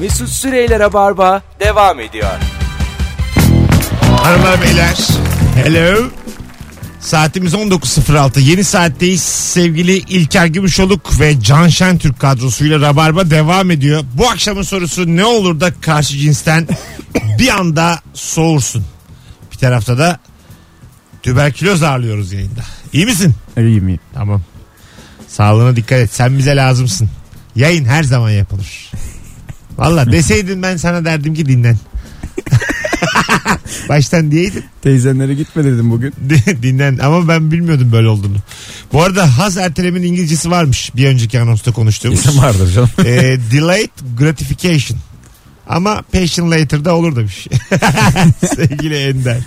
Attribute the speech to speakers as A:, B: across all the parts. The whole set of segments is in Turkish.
A: Mesut Süreyler'e barba devam ediyor.
B: Hanımlar beyler. Hello. Saatimiz 19.06. Yeni saatteyiz. Sevgili İlker Gümüşoluk ve Can Şentürk kadrosuyla Rabarba devam ediyor. Bu akşamın sorusu ne olur da karşı cinsten bir anda soğursun. Bir tarafta da tüberküloz ağırlıyoruz yayında. İyi misin?
C: İyiyim iyiyim.
B: Tamam. Sağlığına dikkat et. Sen bize lazımsın. Yayın her zaman yapılır. Valla deseydin ben sana derdim ki dinlen. Baştan diyeydin.
C: Teyzenlere gitme dedim bugün.
B: dinlen ama ben bilmiyordum böyle olduğunu. Bu arada haz ertelemenin İngilizcesi varmış bir önceki anonsta konuştuğumuz.
C: İsim vardır canım.
B: Ee, delayed gratification. Ama passion later da olur demiş. Sevgili Ender.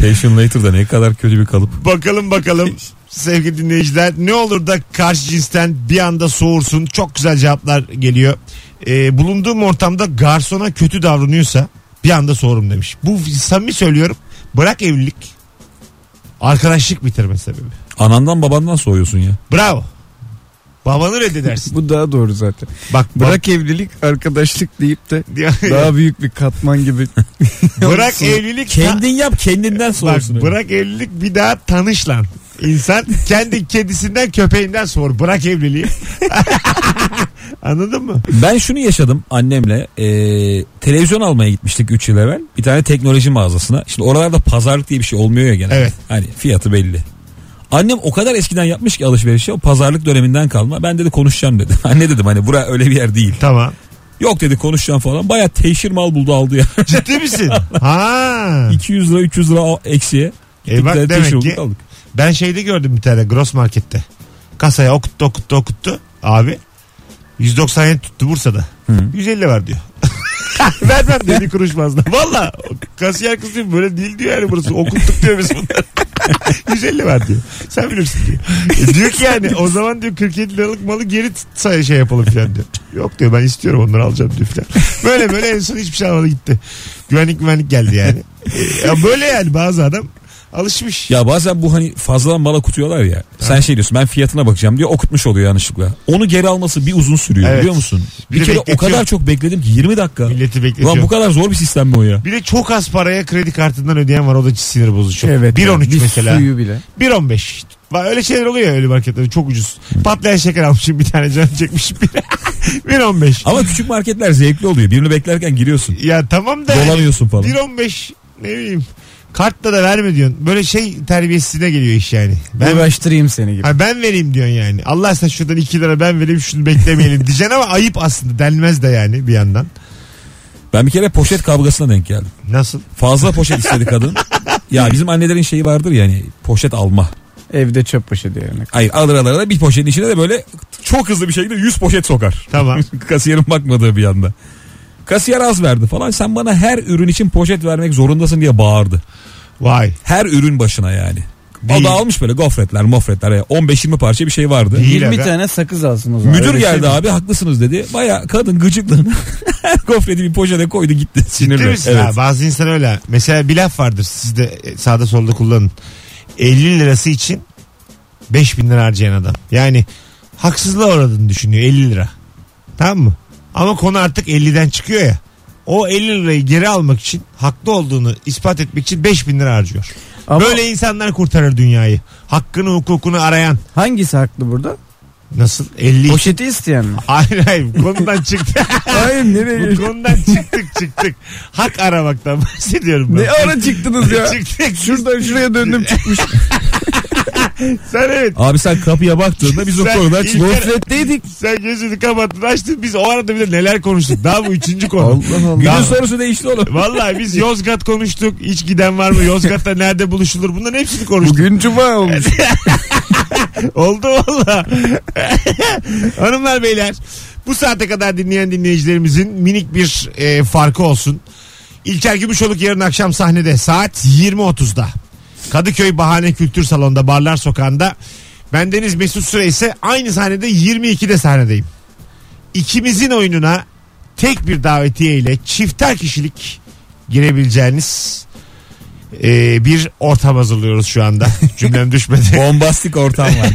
C: Passion Later da ne kadar kötü bir kalıp.
B: Bakalım bakalım sevgili dinleyiciler ne olur da karşı cinsten bir anda soğursun. Çok güzel cevaplar geliyor. Ee, bulunduğum ortamda garsona kötü davranıyorsa bir anda soğurum demiş. Bu samimi söylüyorum bırak evlilik arkadaşlık bitirme sebebi.
D: Anandan babandan soğuyorsun ya.
B: Bravo. Babanı reddedersin.
C: Bu daha doğru zaten.
B: Bak bırak
C: Bırak evlilik arkadaşlık deyip de daha büyük bir katman gibi.
B: bırak evlilik
D: Kendin yap kendinden
B: Bak
D: soğursun.
B: bırak evlilik bir daha tanış lan. İnsan kendi kedisinden köpeğinden sor. Bırak evliliği. Anladın mı?
D: Ben şunu yaşadım annemle. Ee, televizyon almaya gitmiştik 3 yıl evvel. Bir tane teknoloji mağazasına. Şimdi oralarda pazarlık diye bir şey olmuyor ya genelde.
B: Evet.
D: Hani fiyatı belli. Annem o kadar eskiden yapmış ki alışverişi o pazarlık döneminden kalma. Ben dedi konuşacağım dedi. Anne dedim hani bura öyle bir yer değil.
B: Tamam.
D: Yok dedi konuşacağım falan. Baya teşhir mal buldu aldı ya.
B: Ciddi misin? ha.
D: 200 lira 300 lira o eksiye.
B: E bak
D: Bir tane teşhir
B: demek
D: bulduk,
B: ki-
D: aldık.
B: Ben şeyde gördüm bir tane gross markette. Kasaya okuttu okuttu okuttu. Abi 197 tuttu Bursa'da. 150 var diyor. Vermem dedi kuruş fazla. Valla kasiyer kız diyor böyle değil diyor yani burası. Okuttuk diyor biz bunları. 150 var diyor. Sen bilirsin diyor. E diyor ki yani o zaman diyor 47 liralık malı geri say- şey yapalım falan diyor. Yok diyor ben istiyorum onları alacağım diyor falan. Böyle böyle en son hiçbir şey almadı gitti. Güvenlik güvenlik geldi yani. E, ya böyle yani bazı adam alışmış.
D: Ya bazen bu hani fazladan mala kutuyorlar ya. Sen şey diyorsun ben fiyatına bakacağım diyor okutmuş oluyor yanlışlıkla. Onu geri alması bir uzun sürüyor
B: Evet.
D: biliyor musun?
B: Bir
D: Bir,
B: de
D: kere o
B: bekletiyor.
D: kadar çok bekledim ki 20 dakika.
B: Milleti bekletiyor.
D: Ulan bu kadar zor bir sistem mi o ya?
B: Bir de çok az paraya kredi kartından ödeyen var o da sinir bozucu.
C: evet.
B: 1.13
C: Bir
B: mesela.
C: Suyu bile.
B: 1.15. Var Öyle şeyler oluyor ya öyle marketlerde çok ucuz. Patlayan şeker almışım bir tane can çekmişim. 1.15.
D: Ama küçük marketler zevkli oluyor. Birini beklerken giriyorsun.
B: Ya tamam da yani
D: Dolanıyorsun falan.
B: 1.15 ne bileyim. Kartla da verme diyorsun. Böyle şey terbiyesizliğine geliyor iş yani. Ben
C: Uğraştırayım seni gibi.
B: Ha ben vereyim diyorsun yani. Allah sen şuradan 2 lira ben vereyim şunu beklemeyelim diyeceksin ama ayıp aslında denmez de yani bir yandan.
D: Ben bir kere poşet kavgasına denk geldim.
B: Nasıl?
D: Fazla poşet istedi kadın. ya bizim annelerin şeyi vardır yani poşet alma.
C: Evde çöp başı diye örnek.
D: Hayır alır alır alır bir poşetin içine de böyle çok hızlı bir şekilde 100 poşet sokar.
B: Tamam.
D: Kasiyerin bakmadığı bir anda. Kasiyer az verdi falan. Sen bana her ürün için poşet vermek zorundasın diye bağırdı.
B: Vay.
D: Her ürün başına yani.
B: Değil.
D: O da almış böyle gofretler, mofretler. yani 15-20 parça bir şey vardı.
B: Değil
C: 20
B: aga.
C: tane sakız alsın o zaman.
D: Müdür
C: Öyle şey
D: geldi
C: mi?
D: abi haklısınız dedi. Baya kadın gıcıklığını gofreti bir poşete koydu gitti
B: Ciddi
D: sinirle.
B: misin? Ha, bazı insan öyle. Mesela bir laf vardır siz de e, sağda solda kullanın. 50 lirası için 5000 lira harcayan adam. Yani haksızlığa uğradığını düşünüyor 50 lira. Tamam mı? Ama konu artık 50'den çıkıyor ya. O 50 lirayı geri almak için haklı olduğunu ispat etmek için 5000 lira harcıyor.
C: Ama
B: Böyle insanlar kurtarır dünyayı. Hakkını hukukunu arayan.
C: hangisi haklı burada?
B: Nasıl? 50 için.
C: Poşeti isteyen mi?
B: Hayır hayır konudan çıktı.
C: Hayır nereye?
B: Bu konudan çıktık çıktık. Hak aramaktan bahsediyorum ben.
C: ne ara çıktınız ya?
B: Çıktık.
C: Şuradan şuraya döndüm çıkmış.
B: Sen evet.
D: Abi sen kapıya baktığında biz o
B: Sen
D: konuda
B: ilk-
C: Gofretteydik.
B: Sen gözünü kapattın açtın. Biz o arada bir de neler konuştuk. Daha bu üçüncü konu.
C: Allah Allah.
D: Günün
B: Daha-
D: sorusu değişti oğlum.
B: Vallahi biz Yozgat konuştuk. Hiç giden var mı? Yozgat'ta nerede buluşulur? Bunların hepsini konuştuk.
C: Bugün cuma olmuş.
B: Oldu valla. Hanımlar beyler bu saate kadar dinleyen dinleyicilerimizin minik bir e, farkı olsun. İlker Gümüşoluk yarın akşam sahnede saat 20.30'da. Kadıköy Bahane Kültür Salonu'nda Barlar Sokağı'nda. Bendeniz Mesut Süre ise aynı sahnede 22'de sahnedeyim. İkimizin oyununa tek bir davetiye ile çifter kişilik girebileceğiniz e, bir ortam hazırlıyoruz şu anda. Cümlem düşmedi.
D: Bombastik ortam var.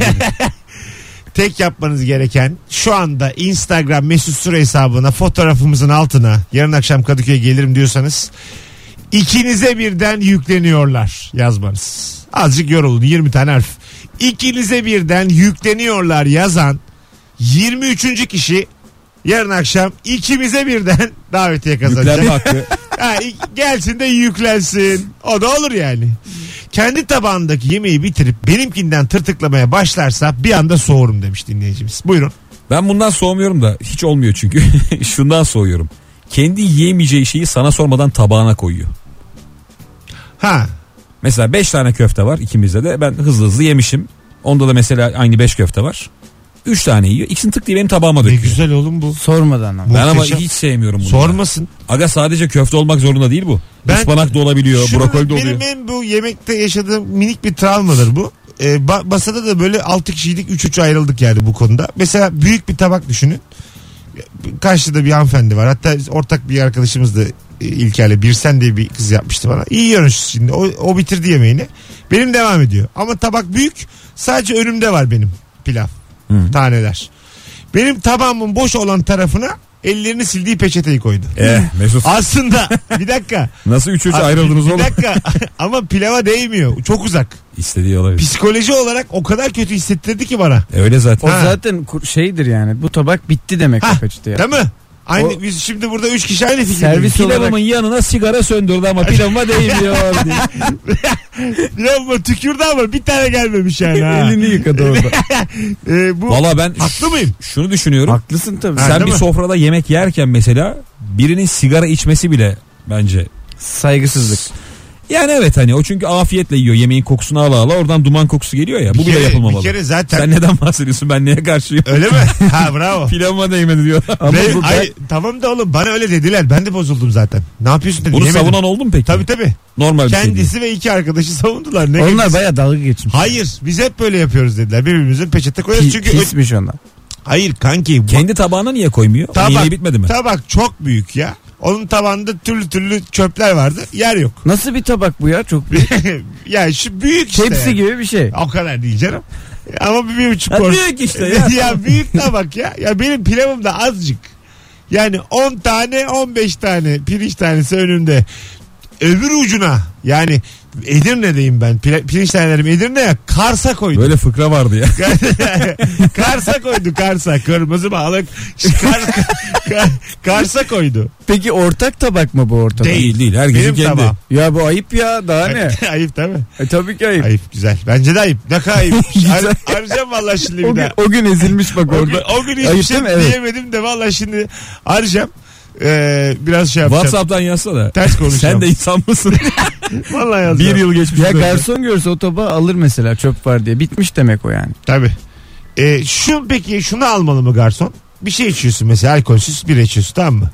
B: Tek yapmanız gereken şu anda Instagram mesut süre hesabına fotoğrafımızın altına yarın akşam Kadıköy'e gelirim diyorsanız ikinize birden yükleniyorlar yazmanız. Azıcık yorulun 20 tane harf. İkinize birden yükleniyorlar yazan 23. kişi yarın akşam ikimize birden davetiye kazanacak.
D: Yüklenme hakkı.
B: Ha, i- gelsin de yüklensin. O da olur yani. Kendi tabağındaki yemeği bitirip benimkinden tırtıklamaya başlarsa bir anda soğurum demiş dinleyicimiz. Buyurun.
D: Ben bundan soğumuyorum da hiç olmuyor çünkü. Şundan soğuyorum. Kendi yiyemeyeceği şeyi sana sormadan tabağına koyuyor.
B: Ha.
D: Mesela 5 tane köfte var ikimizde de ben hızlı hızlı yemişim. Onda da mesela aynı 5 köfte var. 3 tane yiyor. İkisini tık diye benim tabağıma
B: Ne
D: döküyor.
B: güzel oğlum bu.
C: Sormadan ama.
D: Ben ama
B: Muhteşem.
D: hiç sevmiyorum bunu.
B: Sormasın.
D: Aga sadece köfte olmak zorunda değil bu.
B: Ben-
D: Ispanak da olabiliyor,
B: Şunu
D: brokoli de oluyor.
B: benim en bu yemekte yaşadığım minik bir travmadır bu. Ee, ba- masada da böyle 6 kişiydik 3-3 ayrıldık yani bu konuda. Mesela büyük bir tabak düşünün. Karşıda bir hanımefendi var. Hatta ortak bir arkadaşımız da e, İlker'le Birsen diye bir kız yapmıştı bana. İyi yiyoruz şimdi. O, o bitirdi yemeğini. Benim devam ediyor. Ama tabak büyük. Sadece önümde var benim pilav. Taneler. Benim tabağımın boş olan tarafına ellerini sildiği peçeteyi koydu.
D: Eh, Mesut
B: Aslında bir dakika.
D: nasıl 3 3
B: Abi,
D: ayrıldınız
B: bir
D: oğlum?
B: dakika ama pilava değmiyor. Çok uzak.
D: İstediği olabilir.
B: Psikoloji olarak o kadar kötü hissettirdi ki bana.
D: Öyle
C: O
D: zaten.
B: Ha.
C: zaten kur- şeydir yani. Bu tabak bitti demek
B: Ha,
C: o peçete. ya.
B: Değil mi? Aynı,
C: O-
B: biz şimdi burada üç kişi aynı fikirdeyiz.
C: Servis
D: Pilavımın
C: olarak-
D: yanına sigara söndürdü ama pilavıma değmiyor. diye.
B: Ya bu tükürdü ama bir tane gelmemiş yani. Ha.
C: Elini yıkadı orada.
B: Ee, bu
D: Valla ben
B: haklı mıyım?
D: şunu düşünüyorum.
C: Haklısın tabii.
B: Ha,
D: Sen
B: değil
D: bir
B: mi?
D: sofrada yemek yerken mesela birinin sigara içmesi bile bence.
C: Saygısızlık.
D: Yani evet hani o çünkü afiyetle yiyor yemeğin kokusunu ala ala oradan duman kokusu geliyor ya bu
B: Bir
D: bile
B: kere-
D: yapılmamalı.
B: Bir kere zaten.
D: Sen neden bahsediyorsun ben neye karşıyım?
B: Öyle mi? Ha bravo.
D: Pilavıma değmedi diyor.
C: Ama
B: Be-
C: bu
B: ay, tamam da oğlum bana öyle dediler. Ben de bozuldum zaten. Ne yapıyorsun dedim.
D: Bunu
B: yemedim.
D: savunan oldu mu peki?
B: Tabii tabii.
D: Normal bir şey değil.
B: Kendisi ve iki arkadaşı savundular. Ne
C: Onlar
B: gerisi?
C: baya dalga geçmiş.
B: Hayır biz hep böyle yapıyoruz dediler. Birbirimizin peçete koyuyoruz.
C: Pi-
B: Çünkü ö-
C: pismiş onlar.
B: hayır kanki. bu-
D: Kendi tabağına niye koymuyor? Onun
B: Tabak-
D: yemeği bitmedi mi?
B: Tabak çok büyük ya. Onun tabanında türlü türlü çöpler vardı. Yer yok.
C: Nasıl bir tabak bu ya? Çok
B: yani şu büyük işte.
C: tepsi
B: yani.
C: gibi bir şey.
B: O kadar değil canım. Ama bir, bir buçuk
D: Ya
B: kor-
D: büyük işte ya.
B: ya büyük tabak ya. Ya benim pilavım da azıcık. Yani 10 tane 15 tane pirinç tanesi önümde. Öbür ucuna yani Edirne'deyim ben. Pila- pirinç tanelerim Edirne ya. Kars'a koydum.
D: Böyle fıkra vardı ya.
B: Kars'a koydu Kars'a. Kırmızı balık. Kar- Kar- Kars'a koydu.
C: Peki ortak tabak mı bu ortak?
B: Değil.
D: değil değil herkesin
B: Benim
D: kendi.
B: tabağım.
C: Ya bu ayıp ya daha ne?
B: ayıp değil mi?
C: E, tabii ki ayıp.
B: Ayıp güzel. Bence de ayıp. Ne kadar ayıp.
C: Güzel.
B: Ar- arayacağım valla şimdi
C: O
B: bir
C: gün,
B: daha.
C: o gün ezilmiş bak
B: O gün,
C: orada.
B: o gün hiçbir
C: Ayıp
B: şey
C: değil mi? Evet.
B: diyemedim de valla şimdi arayacağım. Ee, biraz şey yapacağım.
D: Whatsapp'tan yazsana.
B: Ters konuşacağım.
D: Sen de insan mısın?
B: Valla
D: bir
B: yazacağım.
D: yıl geçmiş.
C: Ya garson görse o tabağı alır mesela çöp var diye. Bitmiş demek o yani.
B: Tabii. Ee, şu, peki şunu almalı mı garson? Bir şey içiyorsun mesela alkolsüz bir içiyorsun tamam mı?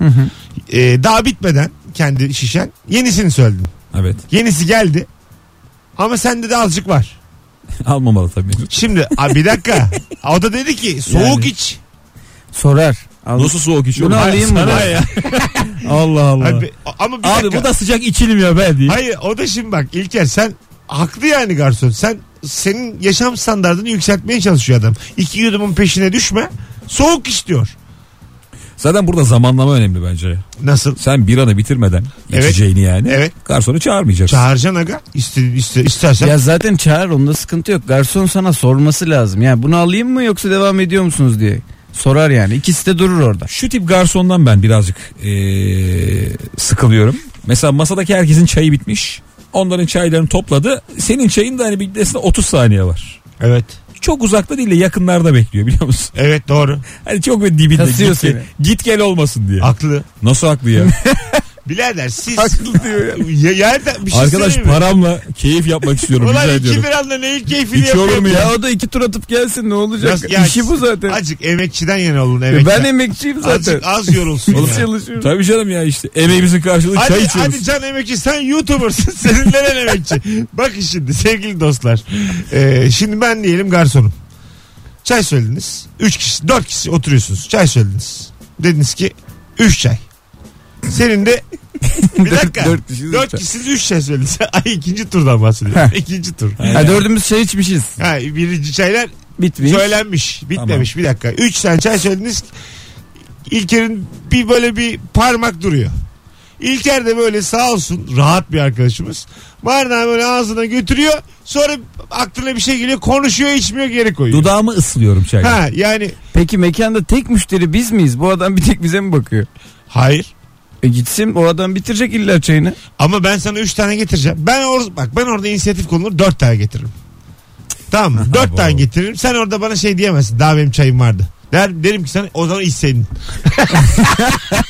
B: Ee, daha bitmeden kendi şişen yenisini söyledin.
D: Evet
B: Yenisi geldi. Ama sende de azıcık var.
D: almamalı tabii.
B: Şimdi a, bir dakika. O da dedi ki soğuk
C: Yani.
B: iç.
C: Sorar. Al-
D: Nasıl soğuk içiyor?
C: Bunu alayım mı?
D: Sana
C: ben?
D: ya. Allah Allah.
B: Abi, ama bir
D: Abi
B: dakika.
D: bu da sıcak içilim ya ben diye.
B: Hayır o da şimdi bak İlker sen haklı yani garson. Sen senin yaşam standartını yükseltmeye çalışıyor adam. İki yudumun peşine düşme. Soğuk iç diyor.
D: Zaten burada zamanlama önemli bence.
B: Nasıl?
D: Sen bir anı bitirmeden
B: Evet.
D: içeceğini yani.
B: Evet.
D: Garsonu çağırmayacaksın.
B: Çağıracaksın aga. İste, iste, istersen.
C: Ya zaten çağır onda sıkıntı yok. Garson sana sorması lazım. Ya bunu alayım mı yoksa devam ediyor musunuz diye. Sorar yani. İkisi de durur orada.
D: Şu tip garsondan ben birazcık ee, sıkılıyorum. Mesela masadaki herkesin çayı bitmiş. Onların çaylarını topladı. Senin çayın da hani bitmesine 30 saniye var.
B: Evet.
D: Çok uzakta değil de yakınlarda bekliyor biliyor musun?
B: Evet doğru.
D: Hani çok böyle dibinde
C: Kasıyor
D: git, gel- git gel olmasın diye.
B: Haklı.
D: Nasıl haklı ya?
B: Birader siz.
C: Haklı diyor
B: ya.
C: ya.
B: Yerden bir şey
D: Arkadaş
B: söyleyeyim mi?
D: paramla keyif yapmak istiyorum.
B: Ulan
D: rica
B: iki
D: ediyorum.
B: liranla neyin keyfini
D: İçiyorum
B: yapıyor?
D: ya.
C: o da iki tur atıp gelsin ne olacak?
B: Nasıl- ya-
C: İşi bu zaten.
B: Azıcık emekçiden yana olun
C: E,
B: emekçiden.
C: ben emekçiyim zaten.
B: Azıcık az yorulsun.
C: Nasıl
B: ya.
C: çalışıyorum?
D: Tabii canım ya işte emeğimizin karşılığı
B: Hadi,
D: çay içiyoruz.
B: hadi can emekçi sen youtubersın senin neren emekçi. Bakın şimdi sevgili dostlar. Ee, şimdi ben diyelim garsonum. Çay söylediniz. 3 kişi 4 kişi oturuyorsunuz. Çay söylediniz. Dediniz ki 3 çay. Senin de bir dakika.
C: dört kişiyiz,
B: 4
C: üç çay.
B: kişisiniz 3 çay söylediniz. Ay ikinci turdan bahsediyorum.
C: Heh.
B: ikinci tur.
C: Ha, dördümüz şey içmişiz.
B: Ha, birinci çaylar
C: Bitmiş.
B: Söylenmiş. Bitmemiş bir dakika. 3 tane çay söylediniz. İlker'in bir böyle bir parmak duruyor. İlker de böyle sağ olsun rahat bir arkadaşımız. Bardağı böyle ağzına götürüyor. Sonra aklına bir şey geliyor. Konuşuyor içmiyor geri koyuyor.
D: Dudağımı ıslıyorum çayla.
B: Ha yani
C: Peki mekanda tek müşteri biz miyiz? Bu adam bir tek bize mi bakıyor?
B: hayır.
C: E gitsin o adam bitirecek illa çayını.
B: Ama ben sana 3 tane getireceğim. Ben or bak ben orada inisiyatif konulur 4 tane getiririm. Tamam mı? 4 tane getiririm. Sen orada bana şey diyemezsin. Daha benim çayım vardı. Der, derim ki sana o zaman iç senin.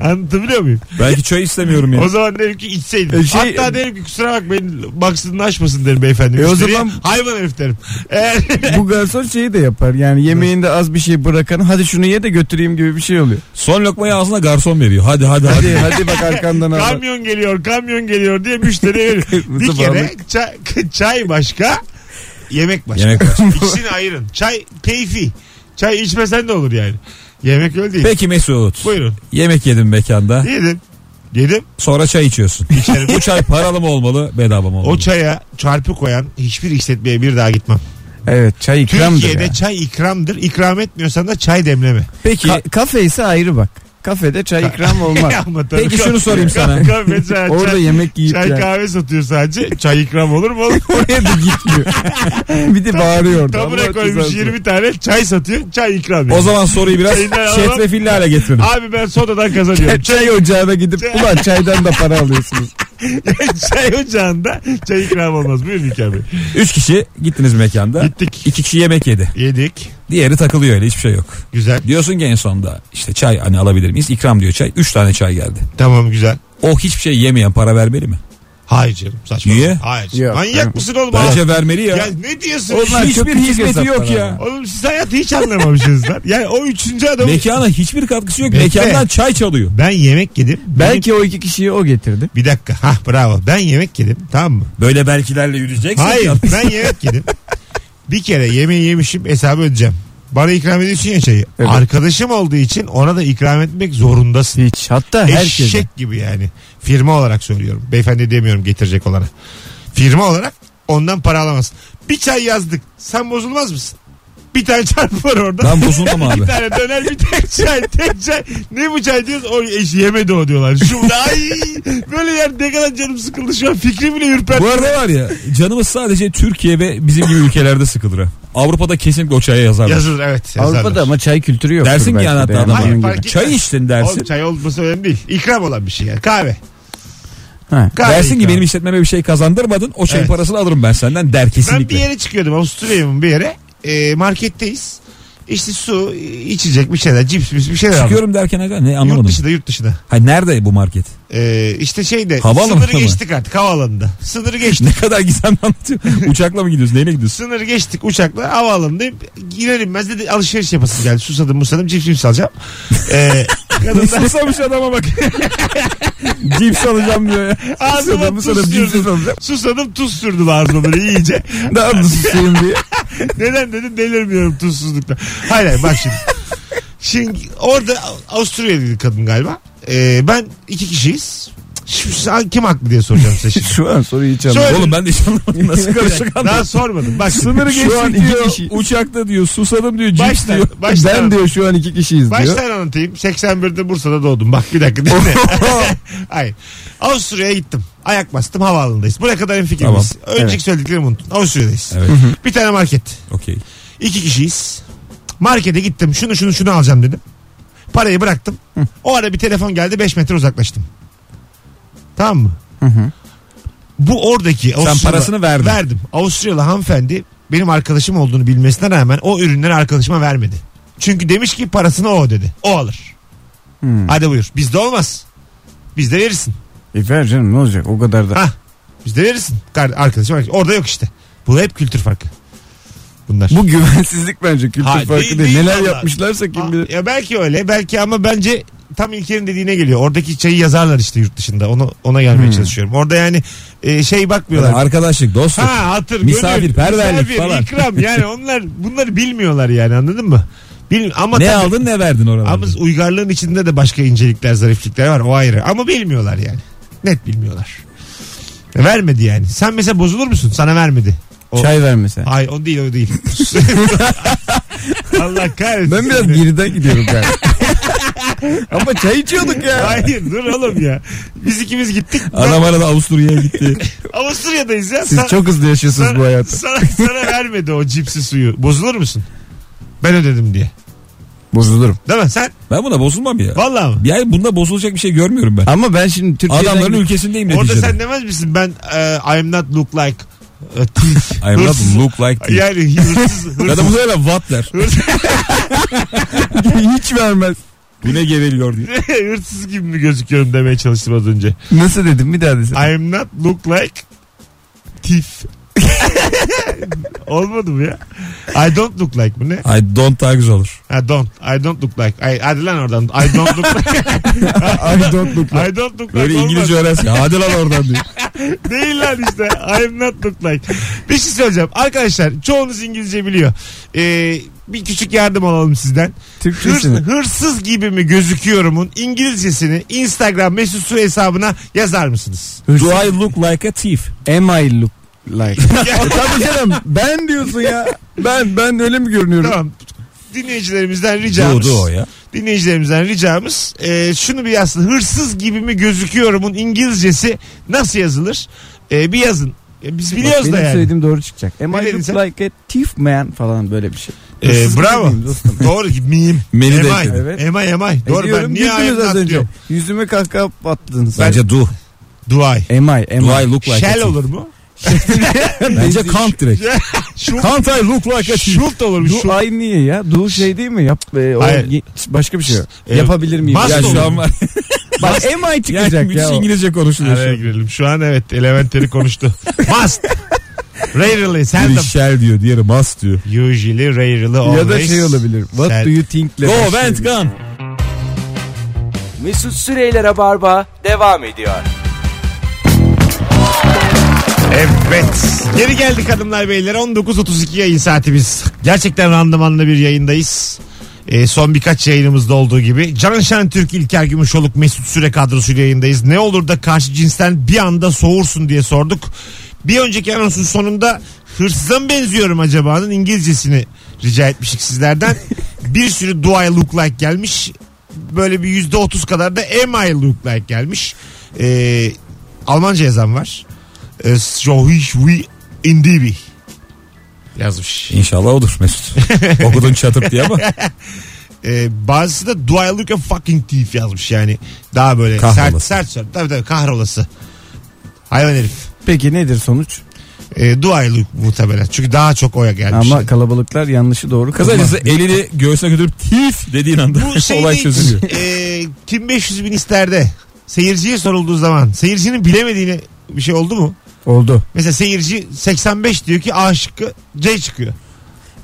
B: Anlatabiliyor muyum?
D: Belki çay istemiyorum ya.
B: O zaman derim ki içseydin.
C: E şey-
B: Hatta derim ki kusura bakmayın baksın açmasın derim beyefendi.
C: E o
B: Müşteriye,
C: zaman-
B: hayvan herif derim. Eğer
C: Bu garson şeyi de yapar. Yani yemeğinde az bir şey bırakan hadi şunu ye de götüreyim gibi bir şey oluyor.
D: Son lokmayı ağzına garson veriyor. Hadi hadi hadi.
C: Hadi hadi bak arkandan al.
B: kamyon geliyor kamyon geliyor diye müşteriye veriyor. bir
C: Kırmızı
B: kere
C: balık.
B: çay, çay başka yemek başka.
D: Yemek var.
B: İkisini ayırın. Çay keyfi. Çay içmesen de olur yani. Yemek öyle değil.
D: Peki Mesut.
B: Buyurun.
D: Yemek yedim mekanda.
B: Yedim. Yedim.
D: Sonra çay içiyorsun.
B: İçerim.
D: Bu çay paralı mı olmalı bedava mı olmalı?
B: O çaya çarpı koyan hiçbir işletmeye bir daha gitmem.
C: Evet çay ikramdır
B: Türkiye'de
C: ya.
B: çay ikramdır. İkram etmiyorsan da çay demleme.
D: Peki
C: Ka- kafe ise ayrı bak. Kafede çay ikram olmaz.
B: Ama tabii
D: Peki
B: kah-
D: şunu sorayım sana.
B: kahve çay-
C: Orada
B: çay-
C: yemek yiyip
B: Çay
C: yani.
B: kahve satıyor sadece. Çay ikram olur mu? oğlum?
C: Oraya da gitmiyor. bir de bağırıyor orada.
B: Tabure
C: Allah
B: koymuş
C: cezası.
B: 20 tane çay satıyor. Çay ikram.
D: O
B: yani.
D: zaman soruyu biraz
B: Çayından alalım.
D: çetrefilli hale getirdim.
B: Abi ben sodadan kazanıyorum.
C: Çay ocağına gidip ulan çaydan da para alıyorsunuz.
B: çay ocağında çay ikram olmaz. Buyurun İlker Bey.
D: Üç kişi gittiniz mekanda.
B: Gittik.
D: İki kişi yemek yedi.
B: Yedik.
D: Diğeri takılıyor öyle hiçbir şey yok.
B: Güzel.
D: Diyorsun ki en sonda işte çay hani alabilir miyiz? İkram diyor çay. Üç tane çay geldi.
B: Tamam güzel.
D: O hiçbir şey yemeyen para vermeli mi?
B: Hayır canım saçma.
D: Niye?
B: Hayır.
C: Yok.
B: Manyak mısın oğlum?
D: Bence vermeli ya.
B: Ya ne diyorsun?
D: Oğlum,
C: Onlar çok
D: Hiçbir
C: küçük
D: hizmeti yok
C: hesaplar
D: ya.
C: ama.
B: Oğlum siz hayatı hiç anlamamışsınız lan. Yani o üçüncü adam.
D: Mekana hiçbir katkısı yok.
B: Bekle.
D: Mekandan çay çalıyor.
B: Ben yemek yedim. Benim-
C: Belki o iki kişiyi o getirdi.
B: Bir dakika. Hah bravo. Ben yemek yedim. Tamam mı?
D: Böyle belkilerle yürüyeceksin.
B: Hayır
D: ya.
B: ben yemek yedim. Bir kere yemeği yemişim hesabı ödeyeceğim. Bana ikram ediyorsun ya çayı.
C: Evet.
B: Arkadaşım olduğu için ona da ikram etmek zorundasın.
C: Hiç. Hatta herkese.
B: Eşek gibi yani. Firma olarak söylüyorum. Beyefendi demiyorum getirecek olana. Firma olarak ondan para alamazsın. Bir çay yazdık. Sen bozulmaz mısın? Bir tane çarpı var orada.
D: Ben bozuldum abi.
B: Bir tane döner bir tek çay tek çay. Ne bu çay diyoruz o eş yemedi o diyorlar. Şu ay böyle yer ne kadar canım sıkıldı şu an fikri bile ürperdi.
D: Bu arada var ya canımız sadece Türkiye ve bizim gibi ülkelerde sıkılır. ha. Avrupa'da kesinlikle o çaya yazarlar.
B: Yazılır evet. yazarlar.
C: Avrupa'da ama çay kültürü yok.
D: Dersin ki hatta adama.
B: Hayır, fark etmez.
D: Çay içtin dersin.
B: Oğlum çay olması önemli değil. İkram olan bir şey yani. Kahve.
C: Ha.
B: Kahve
D: Dersin ki
B: ikramı.
D: benim işletmeme bir şey kazandırmadın. O çayın
B: Evet.
D: parasını alırım ben senden der
B: Ben bir
D: kesinlikle.
B: yere çıkıyordum Avusturya'nın bir yere. E, marketteyiz. İşte su, içecek bir şeyler, cips, cips bir şeyler aldım.
D: Çıkıyorum derken aga ne
B: Yurt
D: anlamadım.
B: dışında yurt dışında.
D: Ha, nerede bu market?
B: Ee, işte şeyde
D: Havaalanında
B: sınırı
D: mı?
B: geçtik artık havaalanında. Sınırı geçtik.
D: Ne kadar gizemli anlatıyor. Uçakla mı gidiyorsun? Neyle gidiyorsun?
B: Sınırı geçtik uçakla havaalanındayım. Girer inmez dedi alışveriş yapasın geldi. Susadım musadım cips cips alacağım. Ee, kadın da
D: Susamış şey adama bak. Cips alacağım diyor ya.
B: ağzıma
D: Susadım,
B: tuz
D: cips
B: sürdü.
D: alacağım.
B: Susadım tuz sürdü ağzıma böyle iyice.
C: Ne yaptın susayım diye.
B: Neden dedim delirmiyorum tuzsuzlukla. Hayır hayır bak şimdi. Şimdi orada Avusturyalıydı kadın galiba. Ee, ben iki kişiyiz. Şimdi sen- kim haklı diye soracağım size şimdi.
C: Şu an soruyu hiç
B: Söyle.
C: anlamadım.
D: Oğlum ben de hiç anlamadım. Nasıl karışık anlamadım.
B: Daha sormadım. Bak şimdi.
C: Sınırı geçtik
D: Şu an iki
C: diyor.
D: kişi. Uçakta diyor. Susadım diyor. Cips
B: Baştan,
D: diyor.
B: baştan,
C: ben diyor şu an iki kişiyiz diyor.
B: baştan anlatayım. 81'de Bursa'da doğdum. Bak bir dakika dinle. Hayır. Avusturya'ya gittim. Ayak bastım havaalanındayız. Buraya kadar en fikrimiz. Önceki
C: Evet.
B: söylediklerimi unuttun. Avusturya'dayız.
D: Evet.
B: Bir tane market.
D: Okey.
B: İki kişiyiz. Markete gittim. Şunu şunu şunu alacağım dedim. Parayı bıraktım. O ara bir telefon geldi 5 metre uzaklaştım. Tamam mı?
C: Hı hı.
B: Bu oradaki Avusturyalı-
D: parasını verdin.
B: Verdim. Avusturyalı hanımefendi benim arkadaşım olduğunu bilmesine rağmen o ürünleri arkadaşıma vermedi. Çünkü demiş ki parasını o dedi. O alır.
C: Hmm.
B: Hadi buyur. Bizde olmaz. Bizde verirsin.
C: E ver canım ne olacak o kadar da.
B: Ha. Bizde verirsin. Kar- Arkadaşım, arkadaşım. Orada yok işte. Bu hep kültür farkı. Bunlar.
C: Bu güvensizlik bence kültür
B: Hayır,
C: farkı
B: değil,
C: değil.
B: değil
C: Neler
B: vallahi.
C: yapmışlarsa
B: Aa,
C: kim bilir.
B: Ya belki öyle belki ama bence tam İlker'in dediğine geliyor. Oradaki çayı yazarlar işte yurt dışında. Ona ona gelmeye çalışıyorum. Orada yani e, şey bakmıyorlar.
D: Yani arkadaşlık, dostluk.
B: ha hatır gönül,
D: misafirperverlik
B: misafir,
D: falan.
B: ikram yani onlar bunları bilmiyorlar yani anladın mı? Bil ama
D: ne
B: tabii-
D: aldın ne verdin
B: ama
D: oralarda?
B: uygarlığın içinde de başka incelikler, zariflikler var. O ayrı. Ama bilmiyorlar yani. Net bilmiyorlar. Vermedi yani. Sen mesela bozulur musun? Sana vermedi. O-
C: Çay vermesen.
B: Ay o değil o değil. Allah kahretsin.
C: Ben biraz geriden gidiyorum ben. Ama çay içiyorduk ya.
B: Hayır dur oğlum ya. Biz ikimiz gittik.
D: Adam arada Avusturya'ya gitti.
B: Avusturya'dayız ya.
C: Siz
B: Sa-
C: çok hızlı yaşıyorsunuz
B: sana,
C: bu hayatı.
B: Sana, sana vermedi o cipsi suyu. Bozulur musun? Ben ödedim diye.
C: Bozulurum.
B: Değil mi sen?
D: Ben buna bozulmam ya.
B: Vallahi mı?
D: Yani bunda bozulacak bir şey görmüyorum ben.
C: Ama ben şimdi Türkiye'den...
D: Adamların ülkesindeyim
B: Orada
D: neticede.
B: sen demez misin ben e, I'm not look like a thief.
D: I'm not
B: Hırsız-
D: look like this.
B: Yani hırsız,
D: Ya da
B: hırsız,
D: bu sefer what der.
C: hiç vermez.
D: Bu ne geveliyor diye.
B: hırsız gibi mi gözüküyorum demeye çalıştım az önce.
C: Nasıl dedim bir daha desene.
B: I'm not look like thief. Olmadı mı ya? I don't look like bu ne?
D: I don't daha güzel olur.
B: I don't. I don't look like. I, hadi lan oradan. I don't look like.
C: I don't look
B: I don't look like.
D: Böyle
B: olmaz.
D: İngilizce öğrensin. Hadi lan oradan diyor.
B: Değil lan işte. I'm not look like. Bir şey söyleyeceğim. Arkadaşlar çoğunuz İngilizce biliyor. Ee, bir küçük yardım alalım sizden. Hırs,
C: Türkçesini.
B: hırsız gibi mi gözüküyorumun İngilizcesini Instagram mesut süre hesabına yazar mısınız?
D: Do I look like a thief?
C: Am I look like? E, Tabii canım ben diyorsun ya. Ben ben öyle mi görünüyorum?
B: Tamam. Dinleyicilerimizden
D: Do,
B: ricamız.
D: do o ya.
B: Dinleyicilerimizden ricamız e, şunu bir yazsın. Hırsız gibi mi gözüküyorumun İngilizcesi nasıl yazılır? E, bir yazın. E, biz
C: Bak,
B: biliyoruz da
C: benim
B: yani.
C: söylediğim doğru çıkacak. Am
B: Ne
C: I
B: dedin
C: look
B: sen?
C: like a thief man falan böyle bir şey.
B: E,
C: Hırsız
B: bravo.
C: gibiyim dostum.
B: Doğru ki miyim.
D: Meni de
B: Emay.
D: ekledi.
C: Evet.
B: Emay Emay.
C: E,
B: Doğru
C: diyorum,
B: ben niye
C: güldünüz az
B: ayakta
C: önce.
B: atlıyorum?
C: Yüzüme kahkaha attınız.
D: Bence do.
B: Duay.
C: Am I? Am
D: Do
C: I?
D: I look like a
B: Shell
D: thief?
B: olur mu?
D: Bence can't direkt.
B: Şult,
D: Can't I look like a thief?
B: şult olur mu?
C: Do
B: Şult.
C: I niye ya? Do şey değil mi? Yap, e, o
B: Hayır.
C: ye- başka bir şey. yok.
B: E,
C: Yapabilir miyim?
B: must
D: Ya
B: olur.
D: şu an var.
C: Bak am I
D: Yani
C: çıkacak
D: müthiş
C: ya. o.
D: İngilizce konuşuluyor şu
B: Araya
D: an.
B: girelim. Şu an evet elementleri konuştu. Must. Rarely.
D: Biri
B: Seldom.
D: shell diyor, diğeri must diyor.
B: Usually, rarely, always.
C: Ya da şey olabilir. What
B: Sen-
C: do you think?
D: Go and gun.
A: Mesut Süreyler'e barba devam ediyor.
B: Evet. Geri geldik hanımlar beyler. 19.32 yayın saatimiz. Gerçekten randımanlı bir yayındayız. Ee, son birkaç yayınımızda olduğu gibi. Can Şentürk, İlker Gümüşoluk, Mesut Süre kadrosuyla yayındayız. Ne olur da karşı cinsten bir anda soğursun diye sorduk. Bir önceki anonsun sonunda hırsıza mı benziyorum acaba'nın İngilizcesini rica etmiştik sizlerden. bir sürü do I look like gelmiş. Böyle bir yüzde otuz kadar da am I look like gelmiş. Ee, Almanca yazan var. Ee, So ich wie in DB. Yazmış.
D: İnşallah odur Mesut. Okudun çatırt diye ama
B: Ee, bazısı da do I look a fucking thief yazmış yani. Daha böyle sert
D: Kahrolası.
B: sert sert. Tabii tabii kahrolası. Hayvan herif.
C: Peki nedir sonuç?
B: Ee, do I look muhtemelen. Çünkü daha çok oya gelmiş.
C: Ama kalabalıklar yanlışı doğru
D: kısacası
C: kılmaz.
D: elini göğsüne götürüp thief dediğin anda
B: Bu şey
D: olay çözülüyor.
B: e, kim 500 bin isterde seyirciye sorulduğu zaman seyircinin bilemediğini bir şey oldu mu?
C: Oldu.
B: Mesela seyirci 85 diyor ki A şıkkı C çıkıyor.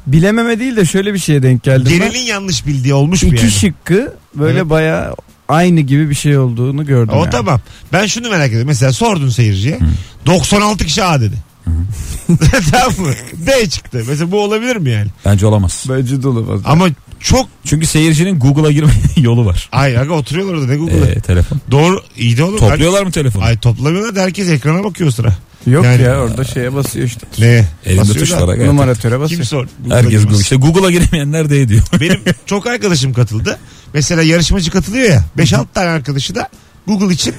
C: Bilememe değil de şöyle bir şeye denk geldim. ben.
B: Genelin yanlış bildiği olmuş mu
C: İki
B: yani?
C: şıkkı böyle
B: Evet.
C: bayağı aynı gibi bir şey olduğunu gördüm.
B: O
C: yani.
B: tamam. Ben şunu merak ediyorum. Mesela sordun seyirciye. 96 kişi A dedi. tamam mı? D çıktı. Mesela bu olabilir mi yani?
D: Bence olamaz.
C: Bence dolu fazla.
B: Ama çok
D: Çünkü seyircinin Google'a girme yolu var.
B: ay aga oturuyorlar orada ne Google'da.
D: Ee, telefon.
B: Doğru iyi de olur.
D: Topluyorlar mı telefonu?
B: Ay toplamıyorlar da herkes ekrana bakıyor o sıra.
C: Yok
B: Yani-
C: ya orada şeye basıyor işte.
B: Ne?
D: Elinde
B: Basıyor
D: tuş
B: da.
D: var. aga.
C: Numaratöre basıyor.
B: Kim sor?
D: Herkes Google.
B: Google'a
D: İşte Google'a giremeyenler de ediyor.
B: Benim çok arkadaşım katıldı. Mesela yarışmacı katılıyor ya. 5-6 tane arkadaşı da Google için